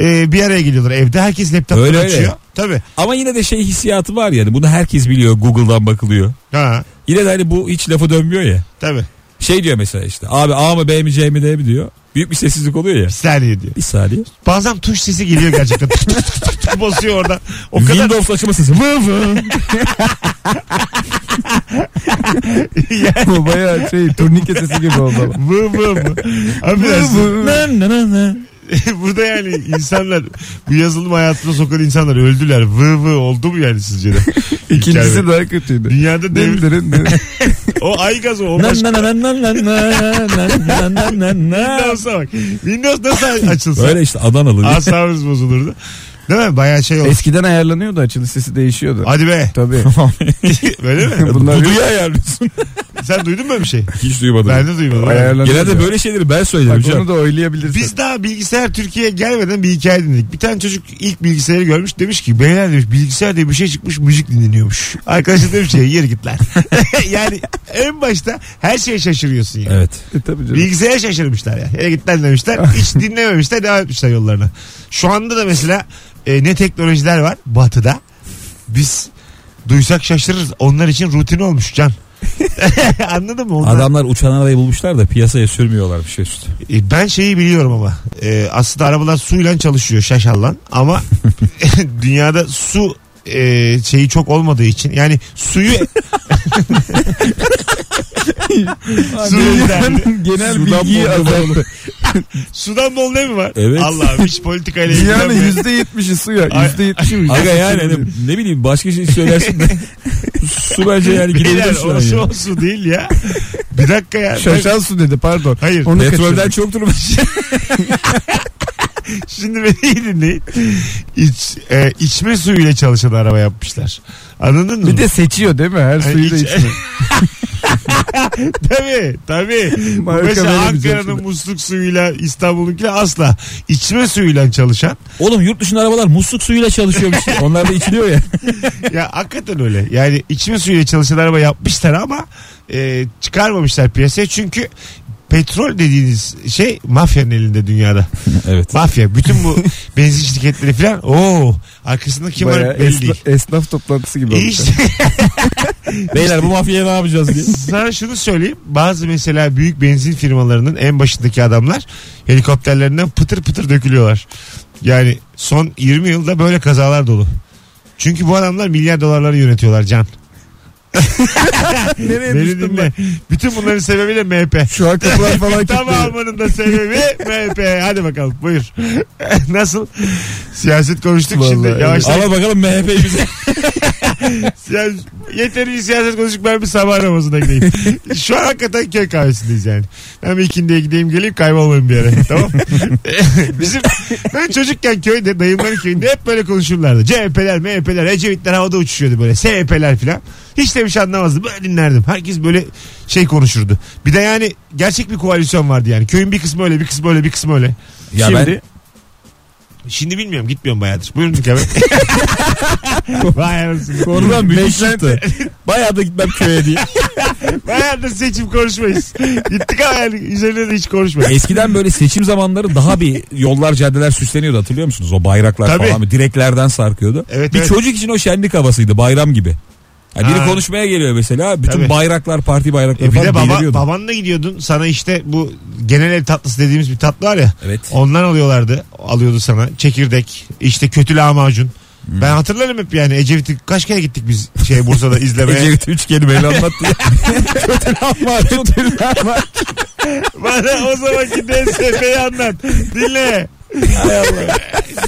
B: e, bir araya geliyorlar evde. Herkes laptopunu
D: Öyle, öyle.
B: açıyor. Tabii.
D: Ama yine de şey hissiyatı var yani. Bunu herkes biliyor. Google'dan bakılıyor.
B: Ha,
D: Yine de hani bu hiç lafı dönmüyor ya.
B: tabii.
D: Şey diyor mesela işte. Abi A mı B mi C mi D mi diyor. Büyük bir sessizlik oluyor ya.
B: Bir saniye diyor.
D: Bir saniye.
B: Bazen tuş sesi geliyor gerçekten. Tık tık tık tık tık basıyor orada. O kadar
D: Windows açma sesi. Vı vı.
C: Bu bayağı şey turnike sesi gibi oldu.
B: vı vı vı. Affedersin.
D: Na, na, na, na.
B: Burada yani insanlar bu yazılım hayatına sokan insanlar öldüler. Vı vı oldu mu yani sizce de? İlker
C: İkincisi
B: Bey.
C: daha kötüydü.
B: Dünyada devir.
C: Dindirin dindirin.
B: O ay gazı o
D: Na,
B: başka.
D: na, na, na, na, na, na, na, na, na.
B: Windows'a bak. Windows nasıl açılsa
D: Böyle işte Adanalı. diye.
B: asabımız bozulurdu. Değil mi? Bayağı şey oldu.
C: Eskiden ayarlanıyordu açılış sesi değişiyordu.
B: Hadi be.
C: Tabii.
B: Öyle mi?
C: Bunlar
D: Dudu'yu ayarlıyorsun.
B: Sen duydun mu öyle bir şey?
D: Hiç duymadım.
B: Ben de duymadım.
C: Ayarlanıyor
D: Genelde
C: ya.
D: böyle şeyleri ben söylerim
C: Bak onu
D: canım.
C: da oylayabilirsin.
B: Biz daha bilgisayar Türkiye'ye gelmeden bir hikaye dinledik. Bir tane çocuk ilk bilgisayarı görmüş demiş ki beyler demiş bilgisayar diye bir şey çıkmış müzik dinleniyormuş. Arkadaşı demiş ki yeri git lan. yani en başta her şeye şaşırıyorsun yani.
D: Evet.
C: E, tabii canım.
B: Bilgisayara şaşırmışlar ya. Yere git lan demişler. Hiç dinlememişler devam etmişler yollarına. Şu anda da mesela e, ne teknolojiler var batıda. Biz duysak şaşırırız. Onlar için rutin olmuş can. Anladın mı? Onlar-
D: Adamlar uçan arabayı bulmuşlar da piyasaya sürmüyorlar bir şey üstü.
B: E, Ben şeyi biliyorum ama E, aslında arabalar suyla çalışıyor şaşallan ama dünyada su e, şeyi çok olmadığı için yani suyu su derdi.
C: Genel
D: Sudan
C: bilgiyi
D: bol-
C: azalttı.
B: sudan bol ne mi var?
D: Evet.
B: Allah'ım hiç politikayla
C: Dünyanın
B: ilgilenmeyen-
C: %70'i su ya.
B: Ay-
C: %70'i mi?
D: Aga yani hani ne bileyim başka şey söylersin de su bence yani gidebilir
B: Beyler
D: şu an.
B: o su
D: Yani.
B: o su değil ya. Bir dakika ya.
C: Şaşal su dedi pardon.
B: Ee, Hayır.
C: Onu
D: Petrolden
C: kaçırdık.
D: çoktur bence.
B: Şimdi beni iyi dinleyin. İç, e, içme suyuyla çalışan araba yapmışlar. Anladın mı?
C: Bir de seçiyor değil mi? Her
B: Ay,
C: suyu da
B: iç-
C: içmiyor.
B: Tabii tabii. Bu
C: Marka
B: Mesela
C: veremeyeceğim
B: Ankara'nın
C: şimdi.
B: musluk suyuyla İstanbul'unkiyle asla. içme suyuyla çalışan.
D: Oğlum yurt dışında arabalar musluk suyuyla çalışıyormuş. Onlar da içiliyor ya.
B: ya hakikaten öyle. Yani içme suyuyla çalışan araba yapmışlar ama e, çıkarmamışlar piyasaya. Çünkü petrol dediğiniz şey mafyanın elinde dünyada.
D: evet.
B: Mafya. Bütün bu benzin şirketleri falan. Oo, arkasında kim
C: Bayağı
B: var belli değil.
C: esna- esnaf toplantısı gibi
B: İyi
C: olmuş.
B: işte.
D: Beyler bu mafyaya ne yapacağız diye.
B: Sana şunu söyleyeyim. Bazı mesela büyük benzin firmalarının en başındaki adamlar helikopterlerinden pıtır pıtır dökülüyorlar. Yani son 20 yılda böyle kazalar dolu. Çünkü bu adamlar milyar dolarları yönetiyorlar can.
C: Nereye
B: Beni
C: düştüm ben?
B: dinle. Bütün bunların sebebiyle MHP.
C: Şu an kapılar falan kilitli.
B: Tamamının da sebebi MHP. Hadi bakalım buyur. Nasıl? Siyaset konuştuk şimdi.
C: Vallahi
B: Yavaş
D: Al bakalım MHP bize.
B: Yani yeterince siyaset konuştuk ben bir sabah namazına gideyim. Şu an hakikaten köy kahvesindeyiz yani. Ben bir ikindiye gideyim geleyim kaybolmayayım bir yere. Tamam Bizim ben çocukken köyde dayımların köyünde hep böyle konuşurlardı. CHP'ler, MHP'ler, Ecevitler havada uçuşuyordu böyle. SHP'ler filan. Hiç de bir şey anlamazdım. Böyle dinlerdim. Herkes böyle şey konuşurdu. Bir de yani gerçek bir koalisyon vardı yani. Köyün bir kısmı öyle, bir kısmı öyle, bir kısmı öyle.
D: Ya
C: Şimdi
B: Şimdi bilmiyorum gitmiyorum bayağıdır. Buyurun Kemal. Vay anasını.
D: ben konudan büyük çıktı. Bayağı da gitmem köye diye.
B: Bayağıdır seçim konuşmayız. Gittik ama yani üzerine de hiç konuşmayız.
D: Eskiden böyle seçim zamanları daha bir yollar caddeler süsleniyordu hatırlıyor musunuz? O bayraklar
B: Tabii.
D: falan direklerden sarkıyordu.
B: Evet,
D: bir
B: evet.
D: çocuk için o şenlik havasıydı bayram gibi. Yani biri
B: Ha.
D: konuşmaya geliyor mesela bütün
B: Tabii.
D: bayraklar parti bayrakları
B: E bir
D: falan
B: de baba,
D: beliriyordu.
B: babanla gidiyordun sana işte bu genel ev tatlısı dediğimiz bir tatlı var ya.
D: Evet.
B: Ondan alıyorlardı. Alıyordu sana. Çekirdek. işte kötü lahmacun. Ben hatırlarım hep yani Ecevit'i kaç kere gittik biz şey Bursa'da izlemeye.
D: Ecevit üç kelimeyle anlattı. Kötü laf var. Kötü laf var.
B: Bana o zamanki DSP'yi anlat. Dinle. Hay Allah.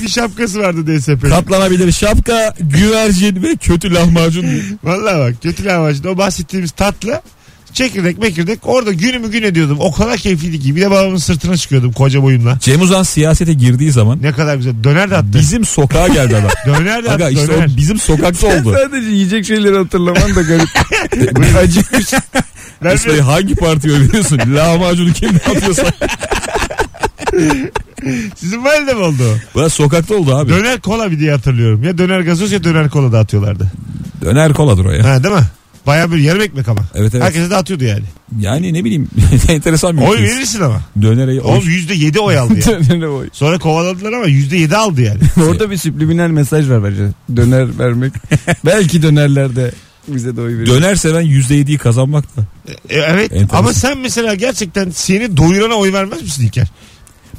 B: bir şapkası vardı DSP'nin.
D: Katlanabilir şapka, güvercin ve kötü lahmacun.
B: Vallahi bak kötü lahmacun o bahsettiğimiz tatlı çekirdek mekirdek orada günümü gün ediyordum. O kadar keyifliydi ki bir de babamın sırtına çıkıyordum koca boyumla.
D: Cem Uzan siyasete girdiği zaman
B: Ne kadar güzel. Döner de attı.
D: bizim sokağa geldi adam.
B: Döner de attı.
D: Aga işte
B: döner.
D: o bizim sokakta oldu.
C: Sadece yiyecek şeyleri hatırlaman da garip. Acıkmış.
B: Ben de-
D: İşte hangi partiyi övüyorsun? Lahmacunu kim ne yapıyorsa.
B: sizin valide mi oldu? o?
D: Bu da sokakta oldu abi.
B: Döner kola bir diye hatırlıyorum. Ya döner gazoz ya döner kola dağıtıyorlardı.
D: Döner koladır o ya.
B: Ha değil mi? Baya bir yarım ekmek ama.
D: Evet evet.
B: Herkese dağıtıyordu yani.
D: Yani ne bileyim enteresan bir
B: Oy
D: ülkeyiz.
B: verirsin ama.
D: Dönere oy.
B: O yüzde yedi oy aldı yani.
C: Dönere boy.
B: Sonra kovaladılar ama yüzde yedi aldı yani.
C: Orada bir subliminal mesaj var bence. Döner vermek. Belki dönerlerde bize de oy verir.
D: Döner seven %7'yi kazanmak da.
B: E, evet
D: Enteresan.
B: ama sen mesela gerçekten seni doyurana oy vermez misin İlker?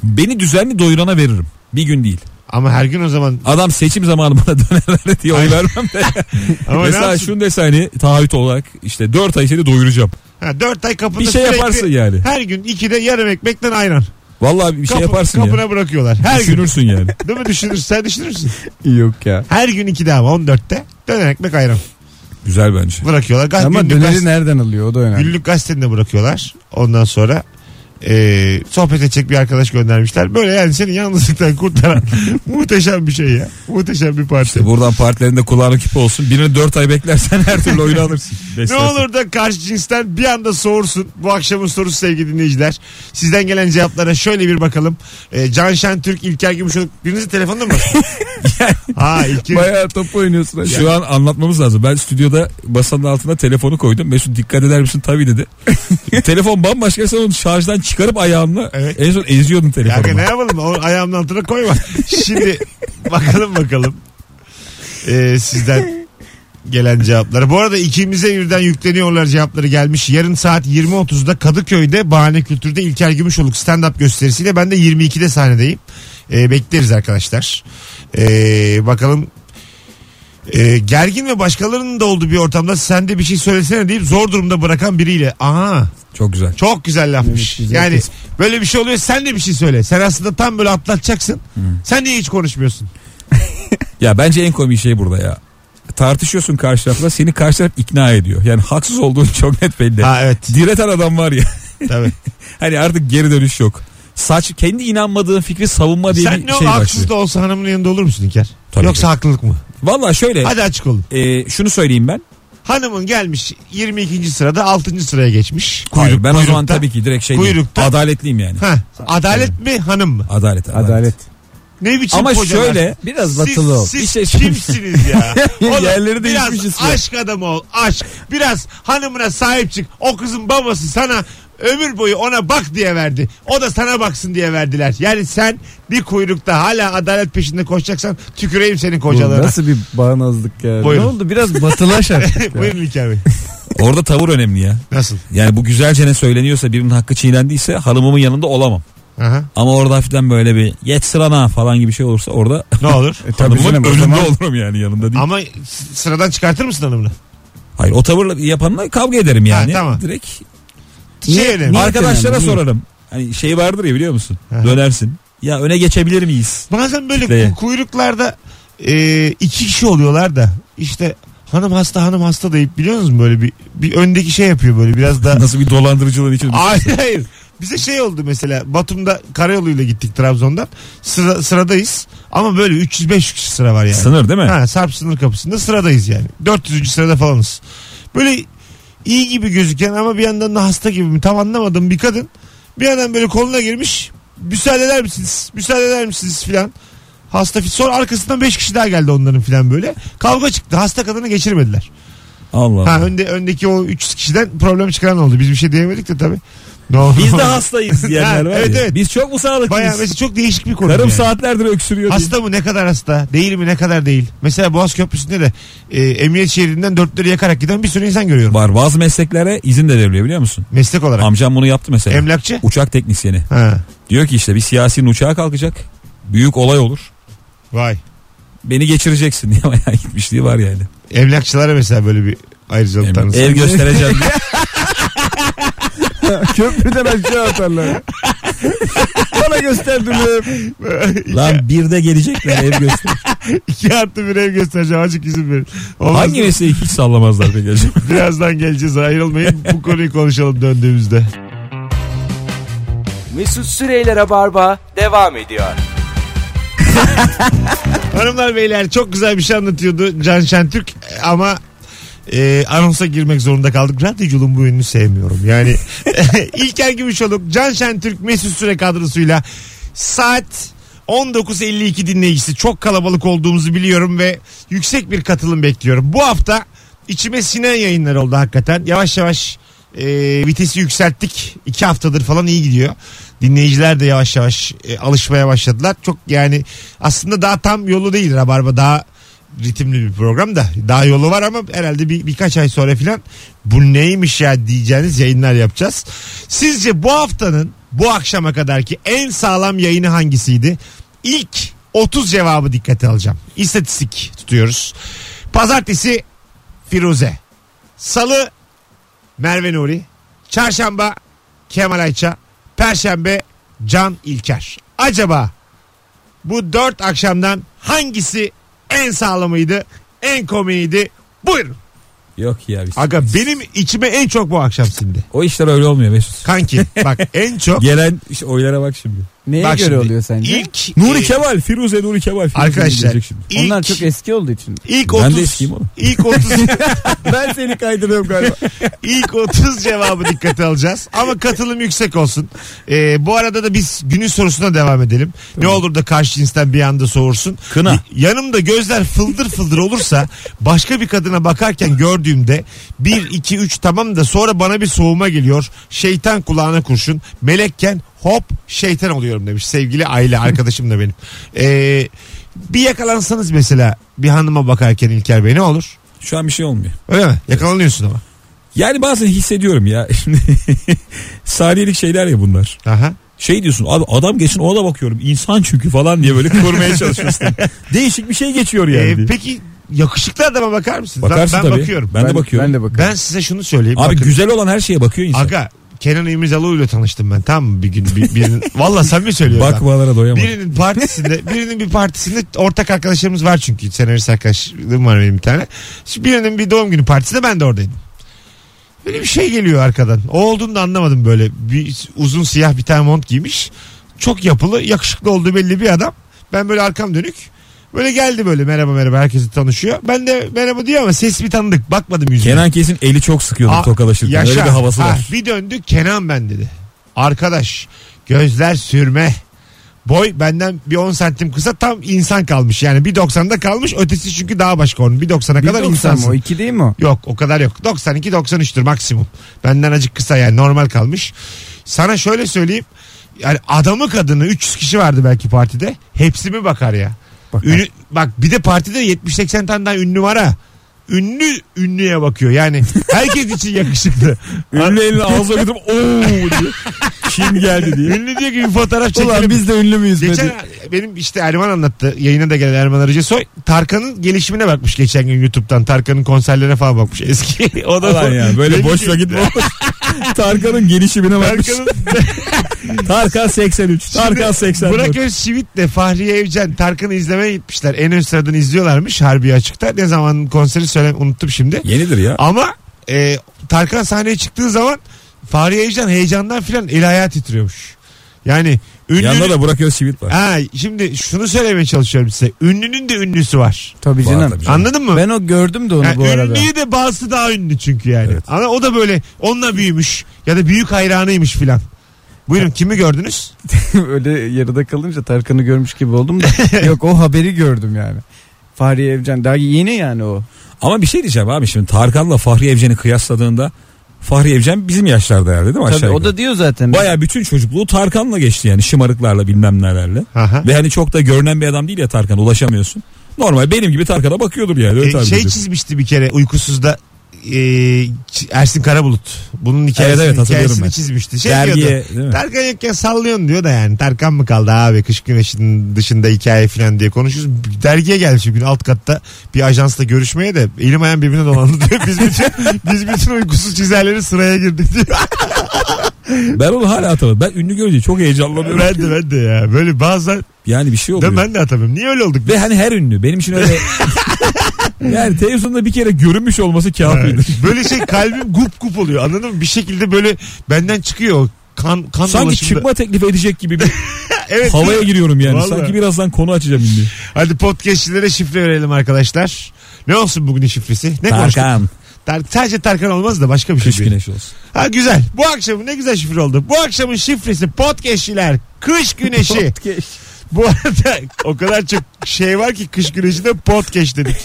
D: Beni düzenli doyurana veririm. Bir gün değil.
B: Ama her gün o zaman.
D: Adam seçim zamanı bana dönerler diye oy
B: Ay.
D: vermem de.
B: Ama ne
D: Mesela
B: yapsın?
D: şunu dese hani taahhüt olarak işte 4 ay içinde doyuracağım.
B: Ha, dört ay kapında
D: Bir şey
B: sürekli
D: yaparsın yani.
B: Her gün ikide yarım ekmekten ayran.
D: Vallahi bir şey
B: Kapı-
D: yaparsın
B: Kapına
D: ya.
B: bırakıyorlar. Her
D: Her
B: gün.
D: Düşünürsün yani.
B: Değil mi düşünürsün? Sen düşünürsün.
C: Yok ya.
B: Her gün ikide ama 14'te döner ekmek ayran.
D: Güzel bence.
B: Bırakıyorlar. Gaz,
C: Ama
B: günlük,
C: döneri
B: gaz-
C: nereden alıyor o da önemli.
B: günlük gazeteni de bırakıyorlar. Ondan sonra e, sohbet edecek bir arkadaş göndermişler. Böyle yani seni yalnızlıktan kurtaran muhteşem bir şey ya. Muhteşem bir parti.
D: İşte buradan partilerinde kulağına küpe olsun. Birini 4 ay beklersen her türlü oyunu alırsın.
B: Ne olur da karşı cinsten bir anda soğursun. Bu akşamın sorusu sevgili dinleyiciler. Sizden gelen cevaplara şöyle bir bakalım. E, Can Şen Türk, İlker Gümüşoluk. Birinizin telefonunda mı? ha İlker.
C: Bayağı top oynuyorsun. hadi.
D: Şu an anlatmamız lazım. Ben stüdyoda masanın altına telefonu koydum. Mesut dikkat eder misin? Tabii dedi. Telefon bambaşka sen onu şarjdan çıkarıp ayağımla
B: Evet.
D: en son eziyordun telefonu.
B: Kanka ne yapalım? O ayağımın altına koyma. Şimdi bakalım bakalım. Ee, sizden gelen cevapları. Bu arada ikimize birden yükleniyorlar cevapları gelmiş. Yarın saat 20.30'da Kadıköy'de Bahane Kültür'de İlker Gümüşoluk stand-up gösterisiyle ben de 22'de sahnedeyim. Ee, bekleriz arkadaşlar. Ee, bakalım Ee, gergin ve başkalarının da olduğu bir ortamda sen de bir şey söylesene deyip zor durumda bırakan biriyle. Aha
D: Çok güzel.
B: çok güzel lafmış. yani böyle bir şey oluyor sen de bir şey söyle. Sen aslında tam böyle atlatacaksın.
D: Hmm.
B: Sen niye hiç konuşmuyorsun?
D: Ya bence en komik şey burada ya. Tartışıyorsun karşı tarafla seni karşı taraf ikna ediyor. Yani haksız olduğun çok net belli.
B: Ha evet
D: Direten adam var ya.
B: tabii.
D: Hani artık geri dönüş yok. Saç kendi inanmadığın fikri savunma diye
B: sen
D: bir
B: ne
D: şey
B: olur haksız
D: başlıyor.
B: da olsa hanımın yanında olur musun İlker?
D: Tabii
B: Yoksa
D: ki.
B: haklılık mı?
D: Valla şöyle
B: Hadi açık olun.
D: e, şunu söyleyeyim ben.
B: Hanımın gelmiş 22. sırada 6. sıraya geçmiş.
D: Hayır, ben o zaman
B: kuyrukta.
D: tabii ki direkt şey diyeyim.
B: Kuyrukta.
D: Adaletliyim yani.
B: Ha, adalet mi hanım mı?
D: Adalet.
C: Adalet.
B: Ne biçim
D: Ama
B: kocalar?
D: şöyle
C: Biraz
B: Siz,
C: batılı ol.
B: siz
D: Bir şey söyleyeyim.
B: kimsiniz ya? Oğlum,
D: Yerleri değişmişiz
B: Biraz
D: ya.
B: aşk adamı ol. Aşk. Biraz hanımına sahip çık. O kızın babası sana ömür boyu ona bak diye verdi. O da sana baksın diye verdiler. Yani sen bir kuyrukta hala adalet peşinde koşacaksan tüküreyim senin kocalarına.
E: Nasıl bir bağnazlık ya.
B: Buyurun.
C: Ne oldu biraz batılaş artık ya.
B: Buyurun İlker Bey.
D: orada tavır önemli ya.
B: Nasıl?
D: Yani bu güzelce ne söyleniyorsa birinin hakkı çiğnendiyse hanımımın yanında olamam.
B: Aha.
D: Ama orada hafiften böyle bir geç sırana falan gibi şey olursa orada
B: Ne olur?
D: hanımımın
E: canım, o
D: önünde
E: zaman-
D: olurum yani yanında değil.
B: Ama s- sıradan çıkartır mısın hanımını?
D: Hayır o tavırla yapanla kavga ederim yani.
B: tamam.
D: Direkt
B: Şey önemli.
D: arkadaşlara
C: önemli? Niye?
D: sorarım. Hani şey vardır ya biliyor musun?
B: Aha.
D: Dönersin. Ya öne geçebilir miyiz?
B: Bazen böyle
D: Kitleye.
B: ku- kuyruklarda e, iki kişi oluyorlar da işte hanım hasta hanım hasta deyip biliyor musunuz böyle bir, bir öndeki şey yapıyor böyle biraz da
D: Nasıl bir dolandırıcılığın içinde.
B: Hayır hayır. Bize şey oldu mesela Batum'da karayoluyla gittik Trabzon'dan. Sıra, sıradayız ama böyle 300-500 kişi sıra var yani.
D: Sınır değil mi?
B: Ha, Sarp sınır kapısında sıradayız yani. 400. sırada falanız. Böyle iyi gibi gözüken ama bir yandan da hasta gibi mi tam anlamadım bir kadın. Bir yandan böyle koluna girmiş. Müsaade eder misiniz? Müsaade eder misiniz filan. Hasta fi- sonra arkasından 5 kişi daha geldi onların filan böyle. Kavga çıktı. Hasta kadını geçirmediler.
D: Allah
B: Ha
D: Allah.
B: önde öndeki o 300 kişiden problem çıkaran oldu. Biz bir şey diyemedik de tabii. Ne oldu?
D: Biz de hastayız diyenler var
B: Ha, evet,
D: ya.
B: evet.
D: Biz çok mu
B: Bayağı
D: sağlıklıyız?
B: mesela çok değişik bir konu.
D: Karım
B: yani.
D: saatlerdir öksürüyor. diye.
B: Hasta mı ne kadar hasta? Değil mi ne kadar değil? Mesela Boğaz Köprüsü'nde de e, emniyet şeridinden dörtleri yakarak giden bir sürü insan görüyorum.
D: Var bazı mesleklere izin de veriliyor biliyor musun?
B: Meslek olarak.
D: Amcam bunu yaptı mesela.
B: Emlakçı.
D: Uçak teknisyeni.
B: Ha.
D: Diyor ki işte bir siyasinin uçağa kalkacak. Büyük olay olur.
B: Vay.
D: Beni geçireceksin diye bayağı gitmişliği var yani.
B: Emlakçılara mesela böyle bir ayrıcalık
D: Ev,
B: tanısı.
D: göstereceğim diye.
E: Köprüden aşağı atarlar. Bana gösterdim.
D: Lan bir de gelecekler ev göster.
B: İki artı bir ev göstereceğim. Azıcık izin verin. Olmaz
D: Hangi
B: mı?
D: mesleği hiç sallamazlar peki acaba?
B: Birazdan geleceğiz. Ayrılmayın. Bu konuyu konuşalım döndüğümüzde.
A: Mesut Süreyler'e barba devam ediyor.
B: Hanımlar beyler çok güzel bir şey anlatıyordu Can Şentürk ama e, anonsa girmek zorunda kaldık. Radyoculuğun bu yönünü sevmiyorum. Yani İlker Gümüşoluk, Can Şentürk, Mesut Süre kadrosuyla saat 19.52 dinleyicisi. Çok kalabalık olduğumuzu biliyorum ve yüksek bir katılım bekliyorum. Bu hafta içime sinen yayınlar oldu hakikaten. Yavaş yavaş e, vitesi yükselttik. İki haftadır falan iyi gidiyor. Dinleyiciler de yavaş yavaş e, alışmaya başladılar. Çok yani aslında daha tam yolu değil Rabarba daha ritimli bir program da daha yolu var ama herhalde bir, birkaç ay sonra filan bu neymiş ya diyeceğiniz yayınlar yapacağız. Sizce bu haftanın bu akşama kadarki en sağlam yayını hangisiydi? İlk 30 cevabı dikkate alacağım. İstatistik tutuyoruz. Pazartesi Firuze. Salı Merve Nuri. Çarşamba Kemal Ayça. Perşembe Can İlker. Acaba bu dört akşamdan hangisi en sağlamıydı, en komiydi? Buyurun.
D: Yok ya. Biz.
B: Aga benim içime en çok bu akşam sindi.
D: O işler öyle olmuyor Mesut.
B: Kanki bak en çok.
D: Gelen iş- oylara bak şimdi.
C: Neye
B: bak
C: göre oluyor sence?
B: İlk,
D: Nuri
B: e,
D: Kemal, Firuze Nuri Kemal. Firuze
B: Arkadaşlar
D: diyecek şimdi.
B: ilk,
C: Onlar çok eski olduğu için.
B: ilk
D: Ben de
B: 30,
D: eskiyim oğlum.
B: ilk 30,
E: ben seni kaydırıyorum galiba.
B: ilk 30 cevabı dikkate alacağız. Ama katılım yüksek olsun. E, bu arada da biz günün sorusuna devam edelim. Ne olur da karşı cinsten bir anda soğursun.
D: Kına.
B: Yanımda gözler fıldır fıldır olursa başka bir kadına bakarken gördüğümde 1 2 3 tamam da sonra bana bir soğuma geliyor. Şeytan kulağına kurşun. Melekken hop şeytan oluyorum demiş. Sevgili aile arkadaşım da benim. Ee, bir yakalansanız mesela bir hanıma bakarken İlker Bey ne olur?
D: Şu an bir şey olmuyor.
B: Öyle mi? Yakalanıyorsun ama.
D: Yani bazen hissediyorum ya. Saniyelik şeyler ya bunlar.
B: Aha.
D: Şey diyorsun abi adam geçin ona da bakıyorum. İnsan çünkü falan diye böyle korumaya çalışıyorsun. Değişik bir şey geçiyor yani.
B: Ee,
D: diye.
B: peki yakışıklı adama bakar mısınız? Ben-
D: Bakarsın
B: ben,
D: tabii.
B: bakıyorum.
D: Ben, de bakıyorum.
E: Ben de bakıyorum.
B: Ben size şunu söyleyeyim.
D: Abi
B: Bakın.
D: güzel olan her şeye bakıyor insan.
B: Aga Kenan İmirzalıoğlu ile tanıştım ben tamam mı bir gün bir, birinin valla samimi söylüyorum. ben.
D: Bakmalara doyamadım.
B: Birinin partisinde, birinin bir partisinde ortak arkadaşlarımız var çünkü. Senarist arkadaşlığım var benim bir tane. Şimdi birinin bir doğum günü partisinde ben de oradaydım. Böyle bir şey geliyor arkadan. O olduğunu da anlamadım böyle. Bir uzun siyah bir tane mont giymiş. Çok yapılı, yakışıklı olduğu belli bir adam. Ben böyle arkam dönük. Böyle geldi böyle merhaba merhaba herkesi tanışıyor. Ben de merhaba diyor ama ses bir tanıdık. Bakmadım yüzüne.
D: Kenan kesin eli çok sıkıyordu
B: Aa,
D: tokalaşırken.
B: Ah, yaşa.
D: Öyle bir havası
B: Ha,
D: var.
B: Bir döndü Kenan ben dedi. Arkadaş gözler sürme. Boy benden bir 10 santim kısa tam insan kalmış. Yani 1.90'da kalmış ötesi çünkü daha başka onun. 1.90'a kadar
C: 1.90 mı
B: insansın.
C: o? 2 değil mi o?
B: Yok o kadar yok. 92-93'tür maksimum. Benden acık kısa yani normal kalmış. Sana şöyle söyleyeyim. Yani adamı kadını 300 kişi vardı belki partide. Hepsi mi bakar ya? Ünü- bak bir de partide 70-80 tane daha ünlü var ha. Ünlü ünlüye bakıyor yani. Herkes için yakışıklı.
D: Ünlü elini ağzına götürüp ooo diyor. Kim geldi diye.
B: ünlü diyor ki bir fotoğraf çekelim.
E: Ulan biz de ünlü müyüz? be
B: Geçen
E: diye.
B: benim işte Erman anlattı. Yayına da gelen Erman Arıcı Soy. Tarkan'ın gelişimine bakmış geçen gün YouTube'dan. Tarkan'ın konserlerine falan bakmış eski. O da
D: Falan ya. Böyle
B: Beni
D: boş vakit mi olur? Tarkan'ın gelişimine bakmış.
B: şey. Tarkan'ın
D: Tarkan 83. Tarkan 84.
B: Burak Özçivit de Fahriye Evcen Tarkan'ı izlemeye gitmişler. En ön sıradan izliyorlarmış Harbi Açık'ta. Ne zaman konseri söyle unuttum şimdi.
D: Yenidir ya.
B: Ama e, Tarkan sahneye çıktığı zaman Fahriye Evcen heyecandan filan el ayağı titriyormuş. Yani
D: Yanında
B: ünlünün...
D: da Burak Özçivit var.
B: Ha, şimdi şunu söylemeye çalışıyorum size. Ünlünün de ünlüsü var.
C: Tabii
D: Var
C: canım.
D: tabii canım.
B: Anladın mı?
C: Ben o gördüm de onu
B: Yani
C: bu arada.
B: ünlüyü de bazısı daha ünlü çünkü yani.
D: Evet.
B: Ama o da böyle onunla büyümüş ya da büyük hayranıymış filan. Buyurun kimi gördünüz?
E: Öyle yarıda kalınca Tarkan'ı görmüş gibi oldum da. Yok o haberi gördüm yani. Fahriye Evcen daha yeni yani o.
D: Ama bir şey diyeceğim abi şimdi Tarkan'la Fahri Evcen'i kıyasladığında Fahri Evcen bizim yaşlarda herhalde değil mi
C: Tabii
D: aşağı
C: o da diyor zaten.
D: Baya bütün çocukluğu Tarkan'la geçti yani şımarıklarla bilmem nelerle.
B: Aha.
D: Ve hani çok da görünen bir adam değil ya Tarkan ulaşamıyorsun. Normal benim gibi Tarkan'a bakıyordur yani. Öyle
B: E,
D: tahmin
B: şey
D: ediyorum.
B: çizmişti bir kere uykusuzda e, Ç- Ersin Karabulut. Bunun hikayesini,
D: Evet, evet, hatırlıyorum
B: hikayesini
D: ben.
B: çizmişti. Şey
D: Dergiye, değil
B: diyordu.
D: mi?
B: Tarkan yokken sallıyorsun diyor da yani. Tarkan mı kaldı abi kış güneşinin dışında hikaye falan diye konuşuyoruz. Dergiye gelmiş bir gün alt katta bir ajansla görüşmeye de elim ayağım birbirine dolandı diyor. Biz bütün, biz bütün uykusuz çizerleri sıraya girdik diyor.
D: Ben onu hala hatırladım. Ben ünlü görünce çok heyecanlanıyorum.
B: ben de ben de ya. Böyle bazen
D: Yani bir şey
B: de
D: oluyor.
B: ben de atamıyorum. Niye öyle olduk?
D: Ve hani her ünlü. Benim için öyle... yani televizyonda bir kere görünmüş olması kafiydi.
B: böyle şey kalbim gup gup oluyor anladın mı? Bir şekilde böyle benden çıkıyor o kan kan
D: Sanki
B: dolaşımda.
D: çıkma teklif edecek gibi bir
B: evet,
D: havaya giriyorum yani.
B: Vallahi.
D: Sanki birazdan konu açacağım ünlü.
B: Hadi podcastçilere şifre verelim arkadaşlar. Ne olsun bugünün şifresi? Ne konuştuk?
D: Tarkan.
B: Tar- sadece Tarkan olmaz da başka bir şey
D: Kış
B: şifre.
D: güneş olsun.
B: Ha güzel. Bu akşamın ne güzel şifre oldu. Bu akşamın şifresi podcastçiler. Kış güneşi. Bu arada o kadar çok şey var ki kış güneşinde podcast dedik.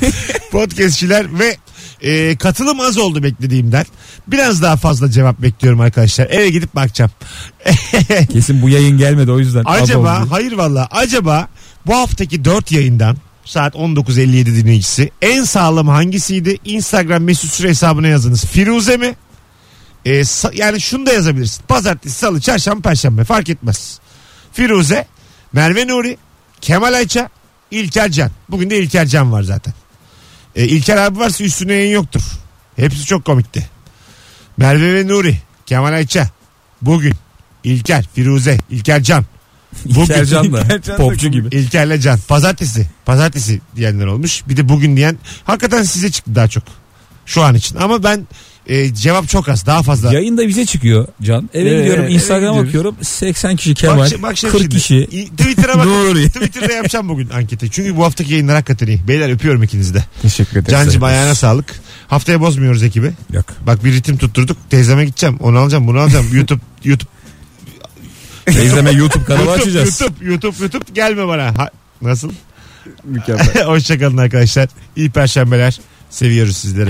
B: Podcastçiler ve e, katılım az oldu beklediğimden. Biraz daha fazla cevap bekliyorum arkadaşlar. Eve gidip bakacağım.
D: Kesin bu yayın gelmedi o yüzden.
B: Acaba
D: Adam-
B: hayır valla acaba bu haftaki 4 yayından saat 19.57 dinleyicisi en sağlam hangisiydi? Instagram mesut süre hesabına yazınız. Firuze mi? Ee, sa- yani şunu da yazabilirsin. Pazartesi, salı, çarşamba, perşembe fark etmez. Firuze, Merve Nuri, Kemal Ayça, İlker Can. Bugün de İlker Can var zaten. Ee, İlker abi varsa üstüne yayın yoktur. Hepsi çok komikti. Merve ve Nuri, Kemal Ayça. Bugün İlker, Firuze, İlker Can.
D: İlker Can da.
E: İlker Can da
D: Popçu
E: komik.
D: gibi.
B: İlker'le Can. Pazartesi. Pazartesi diyenler olmuş. Bir de bugün diyen. Hakikaten size çıktı daha çok. Şu an için. Ama ben e, cevap çok az. Daha fazla.
D: Yayında bize çıkıyor Can. Eve
E: Evet,
D: gidiyorum
E: evet,
D: Instagram'a
E: gidiyoruz.
D: bakıyorum 80 kişi
B: Bak
D: Kemal
B: şi- bak şimdi
D: 40
B: şimdi.
D: kişi.
B: İ- Twitter'a bak.
D: Nuri.
B: Twitter'da yapacağım bugün anketi. Çünkü bu haftaki yayınlar hakikaten iyi. Beyler öpüyorum ikinizi de.
E: Teşekkür ederim.
B: Cancım ayağına sağlık. Haftaya bozmuyoruz ekibi.
D: Yok.
B: Bak bir ritim tutturduk. Teyzeme gideceğim. Onu alacağım bunu alacağım. YouTube YouTube
D: Teyzeme YouTube kanalı
B: YouTube,
D: açacağız.
B: YouTube YouTube YouTube gelme bana. Ha- nasıl?
E: Mükemmel.
B: Hoşçakalın arkadaşlar. İyi perşembeler. Seviyoruz sizleri.